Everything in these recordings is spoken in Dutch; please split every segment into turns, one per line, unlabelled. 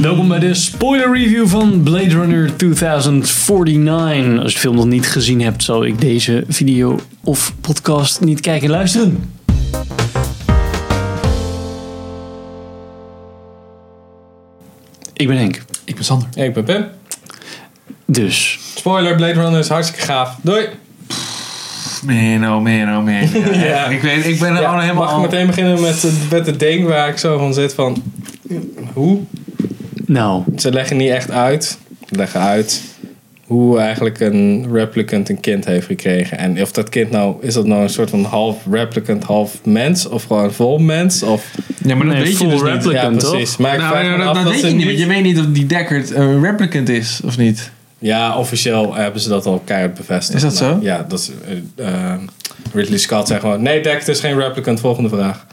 Welkom bij de spoiler review van Blade Runner 2049. Als je de film nog niet gezien hebt, zal ik deze video of podcast niet kijken en luisteren. Ik ben Henk.
Ik ben Sander.
Hey, ik ben Pim.
Dus,
Spoiler, Blade Runner is hartstikke gaaf. Doei!
Man, oh man, oh man.
Ja.
Ik, weet, ik ben er al helemaal...
mag ik meteen beginnen met, het- met het ding waar ik zo van zit van... Hoe?
nou,
Ze leggen niet echt uit. Ze leggen uit hoe eigenlijk een replicant een kind heeft gekregen. En of dat kind nou... Is dat nou een soort van half replicant, half mens? Of gewoon vol mens? Of,
Ja, maar dat
Nee,
weet je
full
dus niet.
replicant. toch?
Maar ik
Nou,
vraag
ja,
me
dat,
af
dat
wat
weet
ze
je niet,
nu-
want je weet niet of die Deckard een replicant is of niet.
Ja, officieel hebben ze dat al keihard bevestigd.
Is dat
Maar
zo?
Ja, dat is, eh, eh, Ridley Scott zei gewoon... Nee, Dek, het is geen replicant. Volgende vraag.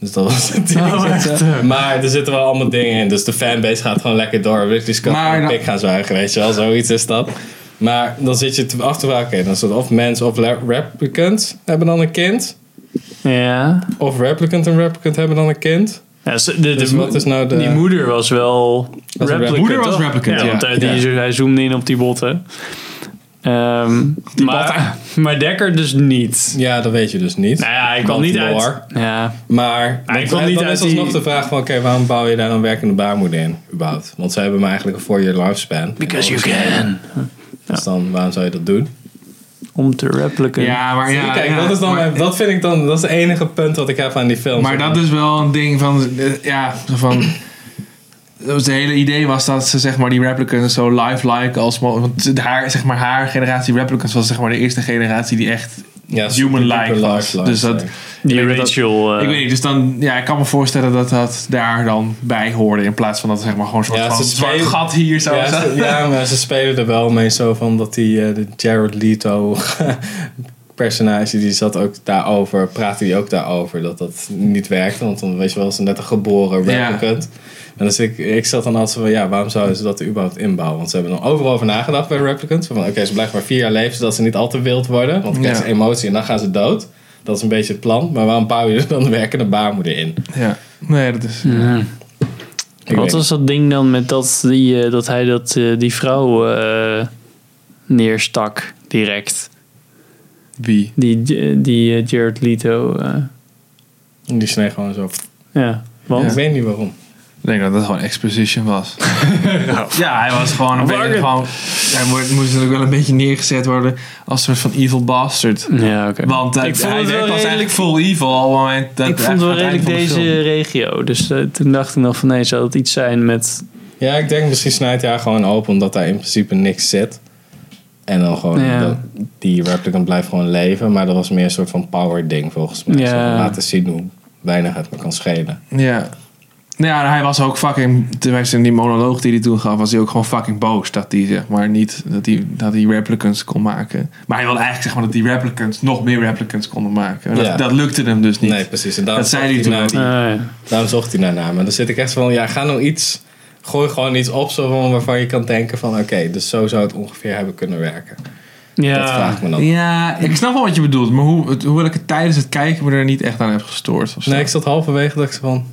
Dus dat was het ding.
Oh,
maar er zitten wel allemaal dingen in. Dus de fanbase gaat gewoon lekker door. Ridley Scott
Maar
maar een
dan-
pik gaan zwijgen, weet je wel. Zoiets is dat. Maar dan zit je te- af te vragen... Oké, dan is het of mens of le- replicant hebben dan een kind.
ja.
Of replicant en replicant hebben dan een kind.
Ja, ze- de-
Dus
de-
wat is nou de...
Die moeder was wel
een
replicant.
replicant.
Moeder was
toch?
replicant, ja.
Want hij, die, hij zoomde in op die botten. Ehm, maar, maar Dekker dus niet.
ja, dat weet je dus niet.
Nou ja, ik kwam niet uit.
Baltimore.
Ja,
Maar
Ah,
Hij
dan-
kwam niet
dan
uit
is alsnog
die-
de vraag van... oké, waarom bouw je daar een werkende baarmoeder in, überhaupt? Want zij hebben maar eigenlijk een four-year lifespan.
because you can.
Dus dan, waarom zou je dat doen?
Om te repliken.
Ja, maar ja.
Kijk,
ja,
dat, is dan,
maar,
mijn- dat vind ik dan... dat is het enige punt wat ik heb aan die film.
maar dat is wel een ding van... eh, Ja, zo van... dat was Het hele idee was dat ze zeg maar, die replicants zo lifelike als... mo- Want haar, zeg maar, haar generatie replicants was zeg maar, de eerste generatie die echt
Ja,
human-like
super
was.
lifelike,
Dus dat,
ja.
die
ik weet dat-
Rachel. eh,
Ik weet niet, dus dan, ja, ik kan me voorstellen dat dat daar dan bij hoorde. In plaats van dat zeg maar gewoon een soort
Ja,
van
ze
zwart
spelen-
gat hier zo.
Ja, ze, ja, maar ze spelen er wel mee zo van dat die eh, de Jared Leto personage die zat ook daarover, praatte die ook daarover dat dat niet werkte, want dan weet je wel, ze net een geboren
Ja.
replicant. En dus ik, ik zat dan altijd zo van ja, waarom zouden ze dat er überhaupt inbouwen? Want ze hebben er overal over nagedacht bij de replicants. Van oké, ze blijven maar vier jaar leven zodat ze niet al te wild worden, want dan krijgen
Ja.
ze emotie en dan gaan ze dood. Dat is een beetje het plan, maar waarom bouw je er dan de werkende baarmoeder in?
Ja. Nee, dat is... eh,
Mhm.
Ik
Wat
weet
was dat ding dan met dat, die, eh, dat hij dat, eh, die vrouw eh, neerstak direct?
Wie?
Die, eh, die eh, Jared Leto. eh,
niet. Die snee gewoon zo.
ja, want.
Ik weet niet waarom.
Ik denk dat dat gewoon exposition was. ja, hij was gewoon een beetje...
Warren.
Gewoon, hij mo- moest natuurlijk wel een beetje neergezet worden als een soort van evil bastard.
Ja, oké.
Want eh,
Ik vond
hij
het wel
werd
redelijk-
pas eigenlijk full evil al op het moment dat
ik vond het wel
aan het
redelijk
eind van de
deze
film.
regio. Dus eh, toen dacht ik nog van nee, zou dat iets zijn met.
Ja, ik denk misschien snijdt hij haar gewoon open omdat daar in principe niks zit. En dan gewoon,
Ja.
dat, die replicant blijft gewoon leven. Maar dat was meer een soort van power ding volgens mij.
Ja.
Zo van laten zien hoe weinig het me kan schelen.
Ja. Nou ja, hij was ook fucking, tenminste in die monoloog die hij toen gaf, was hij ook gewoon fucking boos dat hij zeg maar niet, dat hij, dat hij replicants kon maken. Maar hij wilde eigenlijk zeg maar dat die replicants nog meer replicants konden maken. En Dat,
Ja.
dat lukte hem dus niet.
Nee, precies. En daarom,
Dat zei
zocht
hij toen
naar
ook.
die-
Ah,
daarom zocht hij daarna. Maar dan zit ik echt van, ja, ga nou iets... Gooi gewoon iets op zo van waarvan je kan denken van... Oké, dus zo zou het ongeveer hebben kunnen werken.
ja.
Dat vraag ik me dan.
Ja, ik snap wel wat je bedoelt, maar hoe, het, hoewel ik het tijdens het kijken me er niet echt aan heb gestoord. Of zo.
Nee, ik zat halverwege dacht ik van...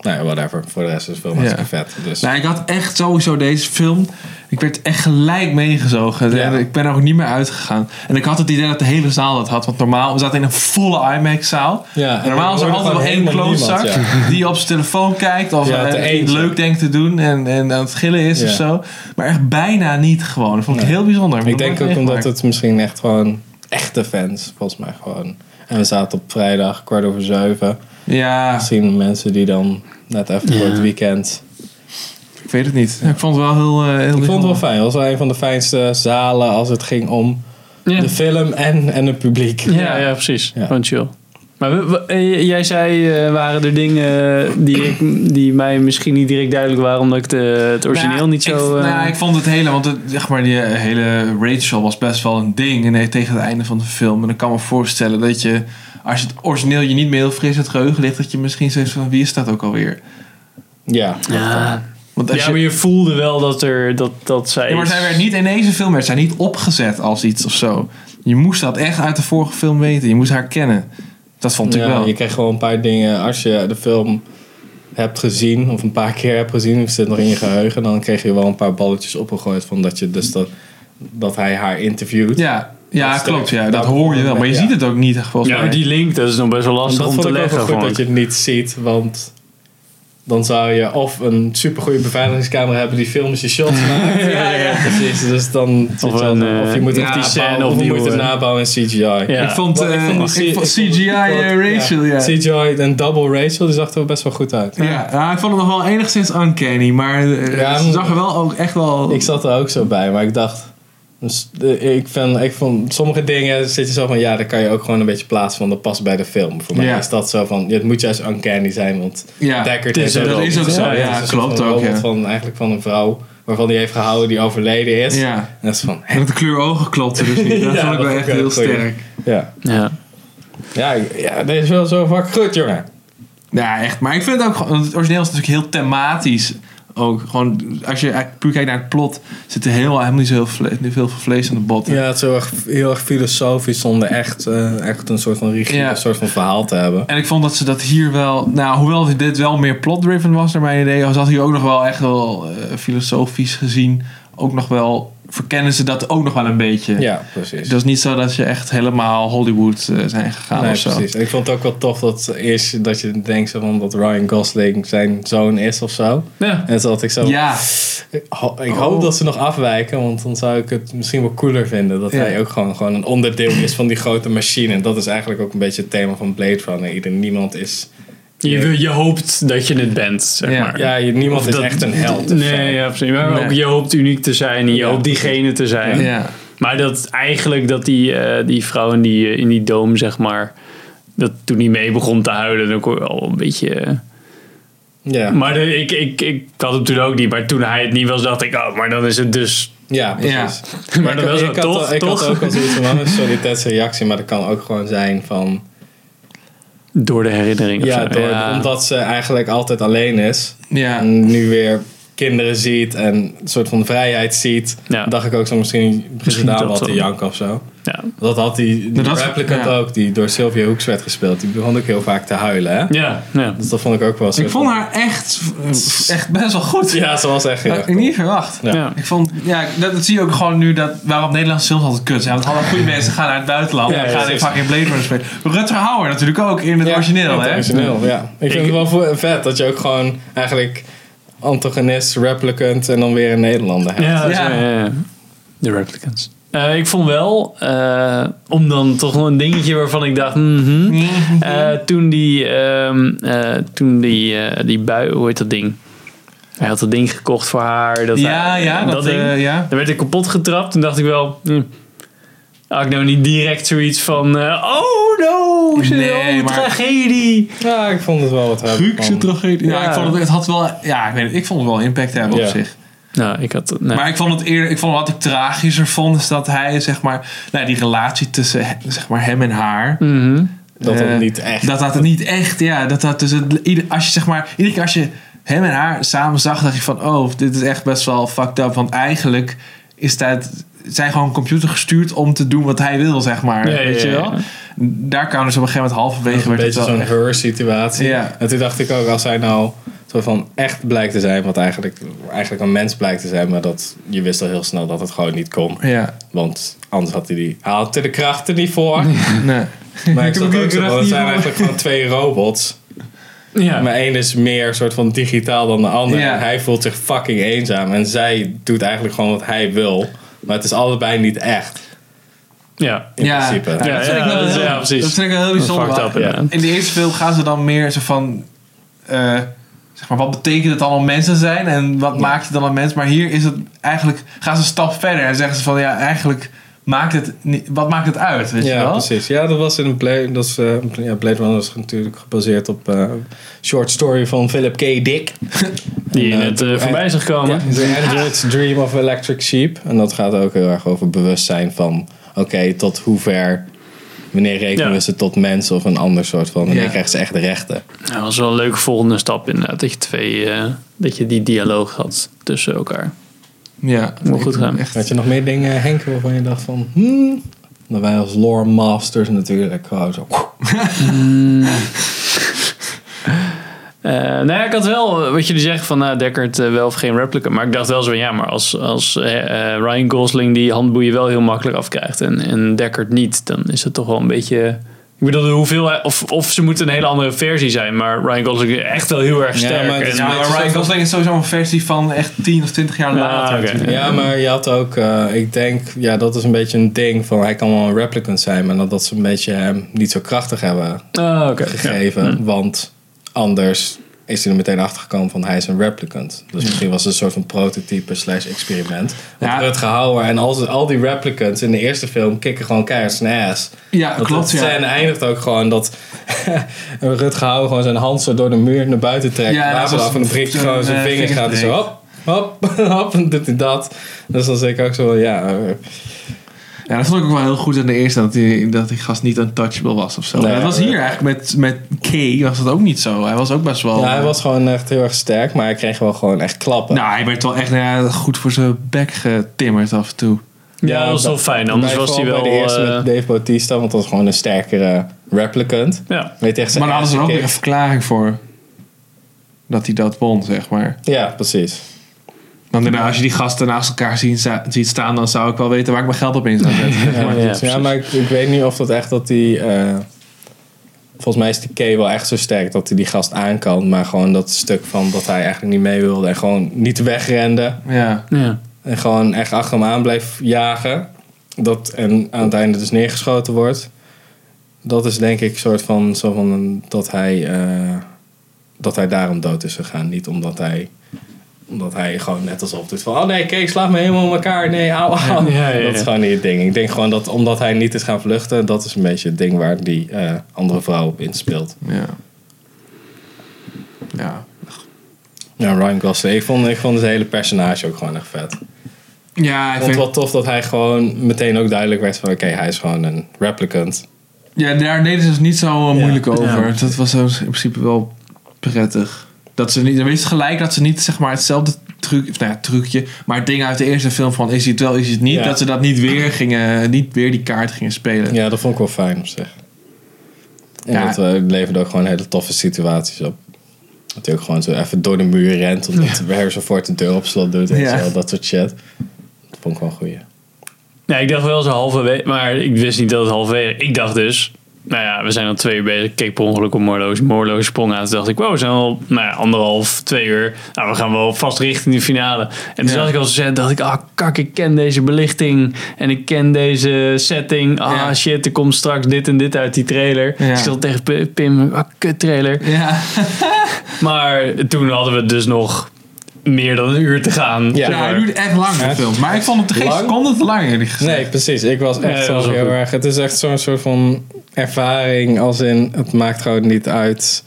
Nou ja, whatever. Voor de rest is het film
Ja.
hartstikke vet. Dus.
Nou, ik had echt sowieso deze film. Ik werd echt gelijk meegezogen.
Ja.
Ik ben er ook niet meer uitgegaan. En ik had het idee dat de hele zaal dat had. Want normaal, we zaten in een volle IMAX-zaal.
Ja,
En normaal is er
hoorde
altijd wel
gewoon
één
helemaal
klootzak
niemand,
die op zijn telefoon kijkt of
Ja,
eh,
te
iets
eentje.
leuk denkt te doen en, en aan het gillen is
Ja.
of zo. Maar echt bijna niet gewoon. Dat vond ik
Nee.
heel bijzonder.
Ik
heb
denk
dat
ook
nooit
omdat
meegemaakt.
het misschien echt gewoon echte fans, volgens mij gewoon. En we zaten op vrijdag, kwart over zeven.
Ja,
Misschien mensen die dan net even voor het weekend.
ik weet het niet. Ja, ik vond het wel heel, eh, heel
Ik vond het wel
bijzonder.
fijn. Het was wel een van de fijnste zalen als het ging om
Ja.
de film en, en het publiek.
Ja, ja, precies.
Ja.
Gewoon chill. Maar we- we- eh, jij zei, eh, waren er dingen die, ik, die mij misschien niet direct duidelijk waren, omdat ik de- het origineel
Nou ja,
niet zo...
Ik,
eh,
nou ja, ik vond het hele, want het, zeg maar, die eh, hele Rachel was best wel een ding en, eh, tegen het einde van de film. En ik kan me voorstellen dat je, als het origineel je niet meer heel fris in het geheugen ligt, dat je misschien zoiets van wie is dat ook alweer?
Ja.
ja.
Want eh, als
Ja,
je,
maar je voelde wel dat, er, dat, dat zij...
Ja, maar zij werd niet in deze film werd zij niet opgezet als iets of zo. Je moest dat echt uit de vorige film weten. Je moest haar kennen. Dat vond ik
Ja,
wel.
Je kreeg gewoon een paar dingen als je de film hebt gezien, of een paar keer hebt gezien, of zit nog in je geheugen, dan kreeg je wel een paar balletjes opgegooid van dat je dus dat, dat hij haar interviewt.
Ja,
Dat
ja
is
klopt.
sterk.
Ja, dat
Daar
hoor je wel. Maar je
ja.
ziet het ook niet echt volgens
Ja,
mij.
maar die link, dat is nog best wel lastig
dat
om
vond
te
ik ook
leggen.
wel goed
gewoon.
dat je het niet ziet, want dan zou je of een supergoeie beveiligingscamera hebben die films je shots maakt. ja, ja, precies. Dus dan zit
Of
je al-
een,
of je moet
eh,
het
ja,
scène
design of je
opnieuw,
moet het
eh.
nabouwen in CGI.
Ja.
Ik vond,
Want ik
eh,
vond die
ik
C-
vond
ik
CGI
vond-
eh, Rachel, ja.
CGI en double Rachel, die zag er best wel goed uit.
Ja, ja, ik vond het nog wel enigszins uncanny, maar eh,
Ja,
ze zag er wel ook echt wel...
Ik zat er ook zo bij, maar ik dacht. Dus, eh, ik, vind, ik vond sommige dingen zit je zo van ja, daar kan je ook gewoon een beetje plaatsen van dat past bij de film. Voor mij
Ja.
is dat zo van ja, het moet juist uncanny zijn, want
ja,
Deckard
het
heeft
is, dat
ook-
is ook zo. Ja,
het is een soort
klopt
van
ook.
robot
Ja.
Van, eigenlijk van een vrouw waarvan die heeft gehouden die overleden is.
ja.
En dat is van,
En dat de kleur ogen klopte dus niet. Dat
Ja,
vond
dat
ik wel
vond
echt
ik
heel
ook goed, ja.
sterk.
ja.
Ja.
Ja, ik- ja, dit is wel zo vaak goed, jongen.
Ja, echt. Maar ik vind het ook gewoon... want Het origineel is natuurlijk heel thematisch. Ook gewoon... Als je eigenlijk puur kijkt naar het plot... Zit er heel, helemaal niet zo heel vle- niet veel vlees aan de botten.
Ja, het is heel erg, heel erg filosofisch zonder echt, eh, echt een soort van rigide
Ja.
soort van verhaal te hebben.
En ik vond dat ze dat hier wel... Nou, hoewel dit wel meer plot-driven was naar mijn idee... was dat hier ook nog wel echt wel eh, filosofisch gezien... ook nog wel... Verkennen ze dat ook nog wel een beetje.
Ja, precies.
Dus Het was niet zo dat je echt helemaal Hollywood eh, zijn gegaan
nee,
of zo.
precies. En ik vond het ook wel tof dat, eerst, dat je denkt zo van dat Ryan Gosling zijn zoon is of zo.
Ja.
En toen had ik zo,
Ja,
Ho- Ik hoop
Oh.
dat ze nog afwijken, want dan zou ik het misschien wel cooler vinden. Dat
Ja.
hij ook gewoon, gewoon een onderdeel is van die grote machine. En dat is eigenlijk ook een beetje het thema van Blade Runner. Ieder, niemand is,
Je, wil- je hoopt dat je het bent, zeg
Ja.
maar.
ja, je- niemand
Of
is
dat-
echt een held. of zo.
Nee, ja, precies. Maar
Nee.
ook je hoopt uniek te zijn en je
Ja,
hoopt diegene te zijn.
ja.
Maar dat eigenlijk dat die, eh, die vrouw in die, eh, in die doom, zeg maar, dat toen die mee begon te huilen, dan kon je al een beetje... eh,
Ja,
Maar de- ik, ik, ik had hem toen ook niet, maar toen hij het niet was, dacht ik, oh, maar dan is het dus...
ja precies.
Maar dan
ik,
wel zo,
ik had,
toch?
ik had
toch?
ook al zoiets van, oh, sorry, Ted's reactie. Maar dat kan ook gewoon zijn van...
Door de herinnering of
Ja,
zo.
door-
ja.
omdat ze eigenlijk altijd alleen is.
ja.
En nu weer kinderen ziet en een soort van vrijheid ziet.
Ja.
dacht ik ook zo, misschien begint
Misschien
daar
dat
wat te
wel.
janken of zo.
Ja.
Dat had die, die
Maar dat-
replicant
ja.
ook, die door Sylvia Hoeks werd gespeeld. Die begon ook heel vaak te huilen, hè?
Ja, ja.
Dus dat vond ik ook wel zo.
Ik vond haar echt, echt best wel goed.
Ja, ze was echt heel
Had
erg
ik niet
tof.
verwacht.
Ja.
Ja.
Ik vond, ja, dat, dat zie je ook gewoon nu dat waarom Nederlandse films altijd kut zijn. Want alle goede mensen gaan naar het buitenland
Ja,
en
ja,
gaan in
precies.
fucking Blade Runner spelen. Rutger Hauer natuurlijk ook in het
Ja,
origineel,
in het
hè?
origineel, ja. Ik, vind
Ik-
het wel vo- vet dat je ook gewoon eigenlijk antagonist, replicant en dan weer een Nederlander hebt.
Ja,
Ja.
zo, ja, ja. de replicants. Eh, ik vond wel, eh, om dan toch nog een dingetje waarvan ik dacht, mhm.
Mm.
Eh, toen die, ehm, eh, toen die, eh, die bui, hoe heet dat ding? Hij had dat ding gekocht voor haar. Dat
Ja,
hij-
ja, dat,
ding.
eh, ja.
Dan werd ik kapot getrapt. Toen dacht ik wel, hm, had ik nou niet direct zoiets van, eh, oh no, ze-
Nee,
oh,
maar-
tragedie.
Ja, ik vond het wel wat hebben.
Griekse
van-
tragedie. Ja,
Ja.
ik vond het, het had wel, ja, ik weet het, ik vond het wel impact hebben
Ja.
op zich.
Nou, ik had, nee.
Maar ik vond het eerder, ik vond wat ik tragischer vond, is dat hij, zeg maar, nou, die relatie tussen he- zeg maar, hem en haar.
Mhm.
Dat
Eh,
het niet echt.
Dat dat niet echt, ja, dat dat dus het, ieder, als je zeg maar, iedere keer als je hem en haar samen zag, dacht je van, oh, dit is echt best wel fucked up, want eigenlijk is dat, zijn gewoon computer gestuurd om te doen wat hij wil, zeg maar,
Ja, ja,
weet je
ja,
wel?
ja.
Daar kwamen dus op een gegeven moment halverwege
een
werd het
beetje
wel
zo'n
echt-
her situatie.
Ja.
En toen dacht ik ook, als hij nou soort van echt blijkt te zijn, wat eigenlijk, eigenlijk een mens blijkt te zijn, maar dat je wist al heel snel dat het gewoon niet kon.
ja,
Want anders had hij die. Hij had er de krachten niet voor.
nee.
Maar ik
heb
zat
ook de
ook zo.
kracht
van, Het
niet
zijn
voor.
eigenlijk gewoon twee robots.
Ja.
Maar één is meer soort van digitaal dan de ander.
Ja.
En hij voelt zich fucking eenzaam. En zij doet eigenlijk gewoon wat hij wil. Maar het is allebei niet echt.
ja.
In
ja.
principe.
Ja, dat
Ja,
vind ik
ja,
wel
dat is-
heel-
ja, precies.
Dat vind ik wel heel bijzonder.
Fucked up,
wel.
ja.
In de eerste film gaan ze dan meer zo van... eh, zeg maar, wat betekent het allemaal mensen zijn? En wat maakt je dan een mens? Maar hier is het eigenlijk... Gaan ze een stap verder en zeggen ze van... Ja, eigenlijk maakt het... Niet, wat maakt het uit? Weet je
Ja,
wel?
precies. Ja, dat was in een Blade, dat is, eh, ja, Blade Runner is natuurlijk gebaseerd op eh, een short story van Philip K. Dick.
Die
En, eh,
net eh, voorbij is gekomen.
The Android's Dream of Electric Sheep. En dat gaat ook heel erg over bewustzijn van... Oké, tot hoever... Wanneer rekenen
Ja.
we ze tot mensen of een ander soort van... Wanneer
Ja.
krijgen ze echt de rechten?
Nou, dat was wel een leuke volgende stap inderdaad. Dat je, twee, eh, dat je die dialoog had tussen elkaar.
Ja.
Moet goed gaan.
Echt.
Had je nog meer dingen, Henk, waarvan je dacht van... Hmm, dan wij als lore masters natuurlijk gewoon zo...
Eh, Eh, nou ja, ik had wel eh, wat jullie zeggen van nou, Deckard eh, wel of geen replica. Maar ik dacht wel zo, ja, maar als, als eh, eh, Ryan Gosling die handboeien wel heel makkelijk afkrijgt en, en Deckard niet, dan is het toch wel een beetje. Ik bedoel, de hoeveelheid, of, of ze moeten een hele andere versie zijn, maar Ryan Gosling is echt wel heel erg
Ja,
sterk.
maar het
en-
is
Ja,
een
maar
beetje
Ryan
zo van-
Gosling is sowieso een versie van echt 10 of 20 jaar
Ah,
later.
oké.
natuurlijk.
Ja, maar je had ook, eh, ik denk, ja, dat is een beetje een ding van hij kan wel een replicant zijn, maar dat, dat ze een beetje hem niet zo krachtig hebben
Ah, oké.
gegeven. Want anders is hij er meteen achter gekomen van hij is een replicant. Dus misschien was het een soort van prototype slash experiment. Want
Ja.
Rutger Hauer en al, al die replicants in de eerste film kicken gewoon keihard zijn ass.
Ja,
Want
klopt.
Het
Ja.
scène eindigt ook gewoon dat Rutger Hauer gewoon zijn hand zo door de muur naar buiten trekt.
Ja,
Ja,
dat was
af en een prikje
zo'n,
gewoon zijn
eh,
vinger gaat en zo
vingerstreek.
hop, hop, hop en doet hij dat. Dus dan zeg ik ook zo van, ja, eh,
Ja, dat vond ik ook wel heel goed in de eerste, dat die, dat die gast niet untouchable was of zo.
Nee,
dat was hier
eh,
eigenlijk met, met K was dat ook niet zo. Hij was ook best wel...
ja, hij was gewoon echt heel erg sterk, maar hij kreeg wel gewoon echt klappen.
Oh, Nou, hij werd wel echt ja, goed voor zijn bek getimmerd af en toe.
Ja, dat was wel fijn. Anders
bij-
was hij
vooral
wel.
Bij de eerste
eh,
met Dave Bautista, want dat was gewoon een sterkere replicant.
ja.
Weet je, echt zijn
Maar daar hadden ze er
eerste
ook weer een
kick.
verklaring voor. Dat hij dat won, zeg maar.
Ja, precies.
Want inderdaad, als je die gasten naast elkaar zien- za- ziet staan, dan zou ik wel weten waar ik mijn geld op in zou zetten.
Ja,
ja,
precies. ja, maar ik, ik weet niet of dat echt dat die. eh, volgens mij is die K wel echt zo sterk dat hij die gast aan kan. Maar gewoon dat stuk van dat hij eigenlijk niet mee wilde. En gewoon niet wegrende.
Ja.
Ja.
En gewoon echt achter hem aan bleef jagen. Dat, en aan het einde dus neergeschoten wordt. Dat is denk ik soort van, zo van een- dat, hij, eh, dat hij daarom dood is gegaan. Niet omdat hij, omdat hij gewoon net alsof doet van... Oh nee, kijk, slaat me helemaal in elkaar. Nee, au, au.
Ja, ja, ja.
Dat is gewoon niet het ding. Ik denk gewoon dat omdat hij niet is gaan vluchten... Dat is een beetje het ding waar die eh, andere vrouw op inspeelt.
Ja. Ja.
Ja, Ryan Gosling. Ik vond, ik vond het hele personage ook gewoon echt vet.
Ja, ik
Ik vond
vind,
het wel tof dat hij gewoon meteen ook duidelijk werd van... oké, hij is gewoon een replicant.
ja, daar deden ze dus niet zo eh,
Ja.
moeilijk over.
Ja.
Dat was zo in principe wel prettig. Dat ze niet, dan wist gelijk dat ze niet zeg maar hetzelfde truc, of nou ja, trucje, maar het ding uit de eerste film van is hij het wel, is hij het niet,
Ja.
dat ze dat niet weer gingen, niet weer die kaart gingen spelen.
Ja, dat vond ik wel fijn op zich. En
Ja.
dat eh, leverde ook gewoon hele toffe situaties op. Dat hij ook gewoon zo even door de muur rent... omdat Harrison Ford de deur op slot doet en
Ja.
zo. Dat soort shit. Dat vond ik wel een goeie.
Nee, ik dacht wel zo halverwege, maar ik wist niet dat het halverwege. Ik dacht dus, nou ja, we zijn al twee uur bezig. Ik keek per ongeluk op Morlo's, Morlo's sprong aan. Toen dacht ik, wow, we zijn al nou ja, anderhalf, twee uur. Nou, we gaan wel vast richting de finale. En toen
Ja.
zat ik al zo zet, dacht ik, ah kak, ik ken deze belichting. En ik ken deze setting. Ah
Ja.
shit, er komt straks dit en dit uit die trailer.
Ja.
Ik zat tegen P- Pim, ah kut trailer.
Ja.
Maar toen hadden we dus nog meer dan een uur te gaan.
Ja.
Ja, hij duurde echt lang, de
Ja.
film. Maar ik vond het geen
Lang?
seconde te lang, eerlijk gezegd.
Nee, precies. Ik was
Nee,
echt
dat
zo
was wel
heel
goed.
erg... Het is echt zo'n soort van ervaring als in... het maakt gewoon niet uit...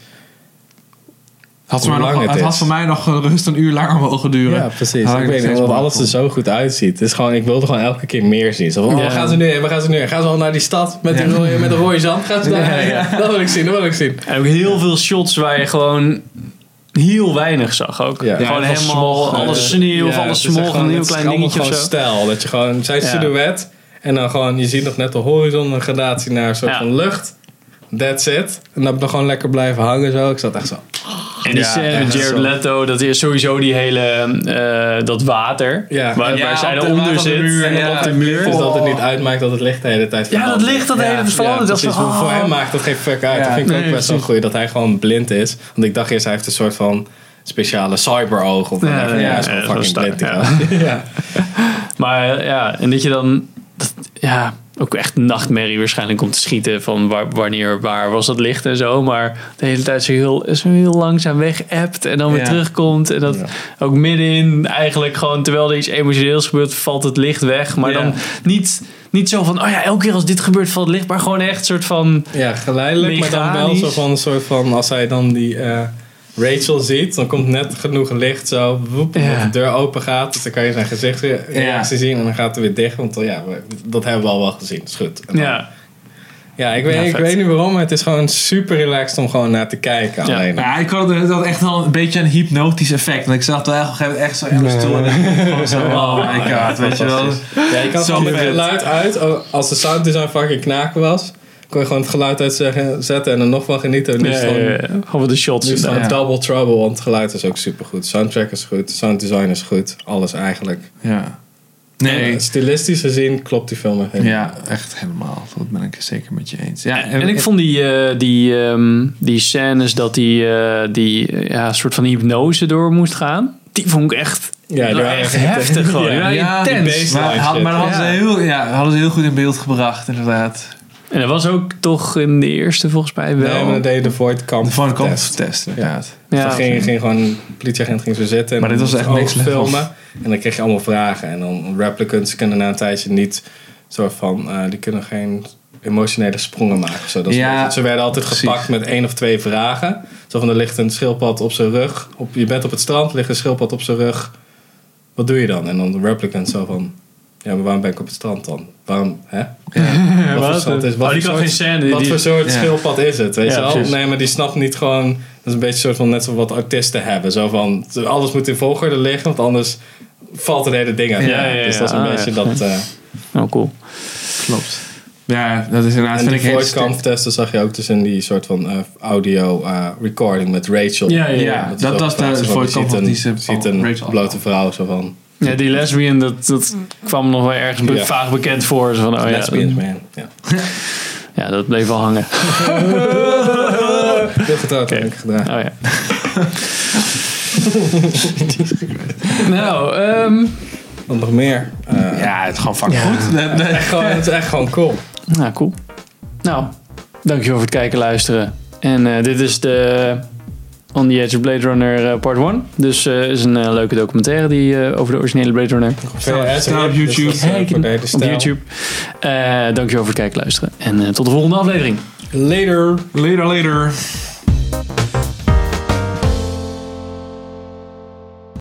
had ze
hoe
maar nog,
lang
het
het
had
is.
voor mij nog gerust een uur langer mogen duren.
Ja, precies. ik
Had
weet
nog
niet,
steeds
omdat
mooi
alles er
gevonden.
zo goed uitziet. Het is gewoon, ik wilde gewoon elke keer meer zien. Zo van, oh,
Ja.
waar gaan ze nu heen? Waar gaan ze nu heen? Gaan ze al naar die stad met,
Ja.
die rode, met de rode zand? Gaan ze daar heen? Dat wil ik zien, dat wil ik zien.
En ook heel veel shots waar je gewoon heel weinig zag ook.
Ja.
gewoon
Ja, het was
helemaal
smog,
alles
eh,
sneeuw of
Ja,
alles
het is
smog,
gewoon-
een heel
het is
klein
allemaal
dingetje of
gewoon
zo.
stijl, dat je gewoon zijn
Ja.
silhouet en dan gewoon, je ziet nog net de horizon, een gradatie naar een soort
Ja.
van lucht. That's it. En dan dan gewoon lekker blijven hangen zo. Ik zat echt zo.
En die
Ja,
scène
echt
met Jared
zo.
Leto, dat is sowieso die hele, eh, dat water,
Ja.
waar,
Ja,
waar zij
op de-
eronder
op de
zit.
muur,
en
En
dan
ja.
op de
muur. Dus dat het niet
muur.
uitmaakt dat het licht de hele tijd
Oh. Ja, dat
verandert.
licht dat de hele tijd veranderd. Dus Dat
precies.
van,
Maar Voor
oh.
hem maakt dat geen fuck uit.
Ja.
dat vind ik
Nee,
ook best wel
precies.
goed dat hij gewoon blind is. Want ik dacht eerst, hij heeft een soort van speciale cyberoog. Of
Ja,
whatever.
ja,
ja, hij is
ja,
gewoon
zo'n
fucking
stak,
blind.
ja.
die gast. Ja.
Maar eh, ja, en dat je dan, dat, ja, ook echt een nachtmerrie waarschijnlijk om te schieten van wa- wanneer, waar was dat licht en zo. Maar de hele tijd zo heel, zo heel langzaam weg appt en dan weer
Ja.
terugkomt. En dat
Ja.
ook middenin eigenlijk gewoon, terwijl er iets emotioneels gebeurt, valt het licht weg. Maar
Ja.
dan niet, niet zo van, oh ja, elke keer als dit gebeurt valt het licht. Maar gewoon echt soort van,
Ja, geleidelijk, maar dan wel
Mechanisch.
zo van een soort van als hij dan die eh, Rachel ziet, dan komt net genoeg licht zo, woep,
Ja.
dat de deur open gaat, dus dan kan je zijn gezicht zien en dan gaat hij weer dicht, want dan, ja, we- dat hebben we al wel gezien, dat is goed. En dan-
ja.
ja, ik weet,
Ja,
ik
vet.
weet niet waarom, maar het is gewoon super relaxed om gewoon naar te kijken.
Ja.
Alleen.
Ja, ik had, het had echt wel een beetje een hypnotisch effect. Want ik zag dat eigenlijk echt zo aan de stoel. En ik gewoon zo, oh my god, weet je wel.
Ja, je kan
Zo
gewoon met
vet.
geluid uit, oh, als de sound design fucking knaken was, kon je gewoon het geluid uitzetten en er nog van genieten. Nu is het gewoon-
Gewoon de shots.
nu is het gewoon
Ja.
Double Trouble, want het geluid is ook supergoed. Soundtrack is goed, sound design is goed, alles eigenlijk.
Ja. Nee.
En Stilistisch gezien klopt die film echt. helemaal.
Ja, echt helemaal. Dat ben ik het zeker met je eens. Ja,
En ik vond die, eh, die, ehm, die scènes dat die, eh, die eh, ja, soort van hypnose door moest gaan. Die vond ik echt,
Ja, die waren
echt
echt
heftig gewoon. Die waren
ja,
intens.
die beesten.
Maar, had, maar dat hadden, ze
Ja.
heel, ja, dat hadden ze heel goed in beeld gebracht, inderdaad.
En dat was ook toch in de eerste volgens mij wel.
Nee, maar dan deed je de Void Camp.
De Van
test.
Kampf test, inderdaad.
Dus
Ja.
dan ging, ging gewoon, de politieagent ging zo zitten. En
Maar dit
dan
was
moest
echt
ook
next level.
filmen. En dan kreeg je allemaal vragen. En dan replicants kunnen na een tijdje niet soort van, eh, die kunnen geen emotionele sprongen maken. of Zo. Dat is
Ja,
een beetje- ze werden altijd
precies.
gepakt met één of twee vragen. Zo van, er ligt een schildpad op zijn rug. Op, je bent op het strand, ligt een schildpad op zijn rug. Wat doe je dan? En dan de replicant zo van, ja, maar waarom ben ik op het strand dan? Waarom, hè? Wat,
Wat?
voor soort is,
Oh,
wat
die
voor
kan
soort-
geen scène,
Wat
die-
voor soort
ja.
schildpad is het? Weet
Ja,
je wel?
precies.
Nee, maar die snapt niet gewoon. Dat is een beetje soort van net zo wat autisten hebben. Zo van alles moet in volgorde liggen, want anders valt het hele ding uit.
Ja, ja,
dus
ja.
dat is een
Ah,
beetje
ja.
dat. eh
Oh, cool.
Klopt. Ja, dat is inderdaad,
en
vind
die
ik heel
voice
sterk.
camp testen zag je ook dus in die soort van eh, audio eh, recording met Rachel.
Ja, ja.
Ja,
is
dat,
ook
dat is
vaak zo
de
van,
voice
je
camp
ziet
van
een-
die ze
je ziet een blote vrouw zo van.
Ja, die lesbian, dat, dat kwam nog wel ergens be-
Ja.
vaag bekend voor. Zo van, oh, ja,
lesbians,
dat,
man. Ja.
ja, dat bleef wel hangen.
Heel getrouwd
Oké.
heb ik gedragen.
Oh ja. nou, ehm,
Wat nog meer? Eh,
Ja, het is gewoon fucking goed. De- de-
echt gewoon, het is echt gewoon cool.
nou, cool. Nou, dankjewel voor het kijken luisteren. En eh, dit is de On the Edge of Blade Runner eh, Part 1. Dus eh is een eh, leuke documentaire die, eh, over de originele Blade Runner
Staat- staat op
Dus dat is,
YouTube.
eh, voor de hele
op
stijl.
YouTube. Eh dankjewel voor het kijken luisteren. En eh, tot de volgende aflevering.
Later.
Later, later.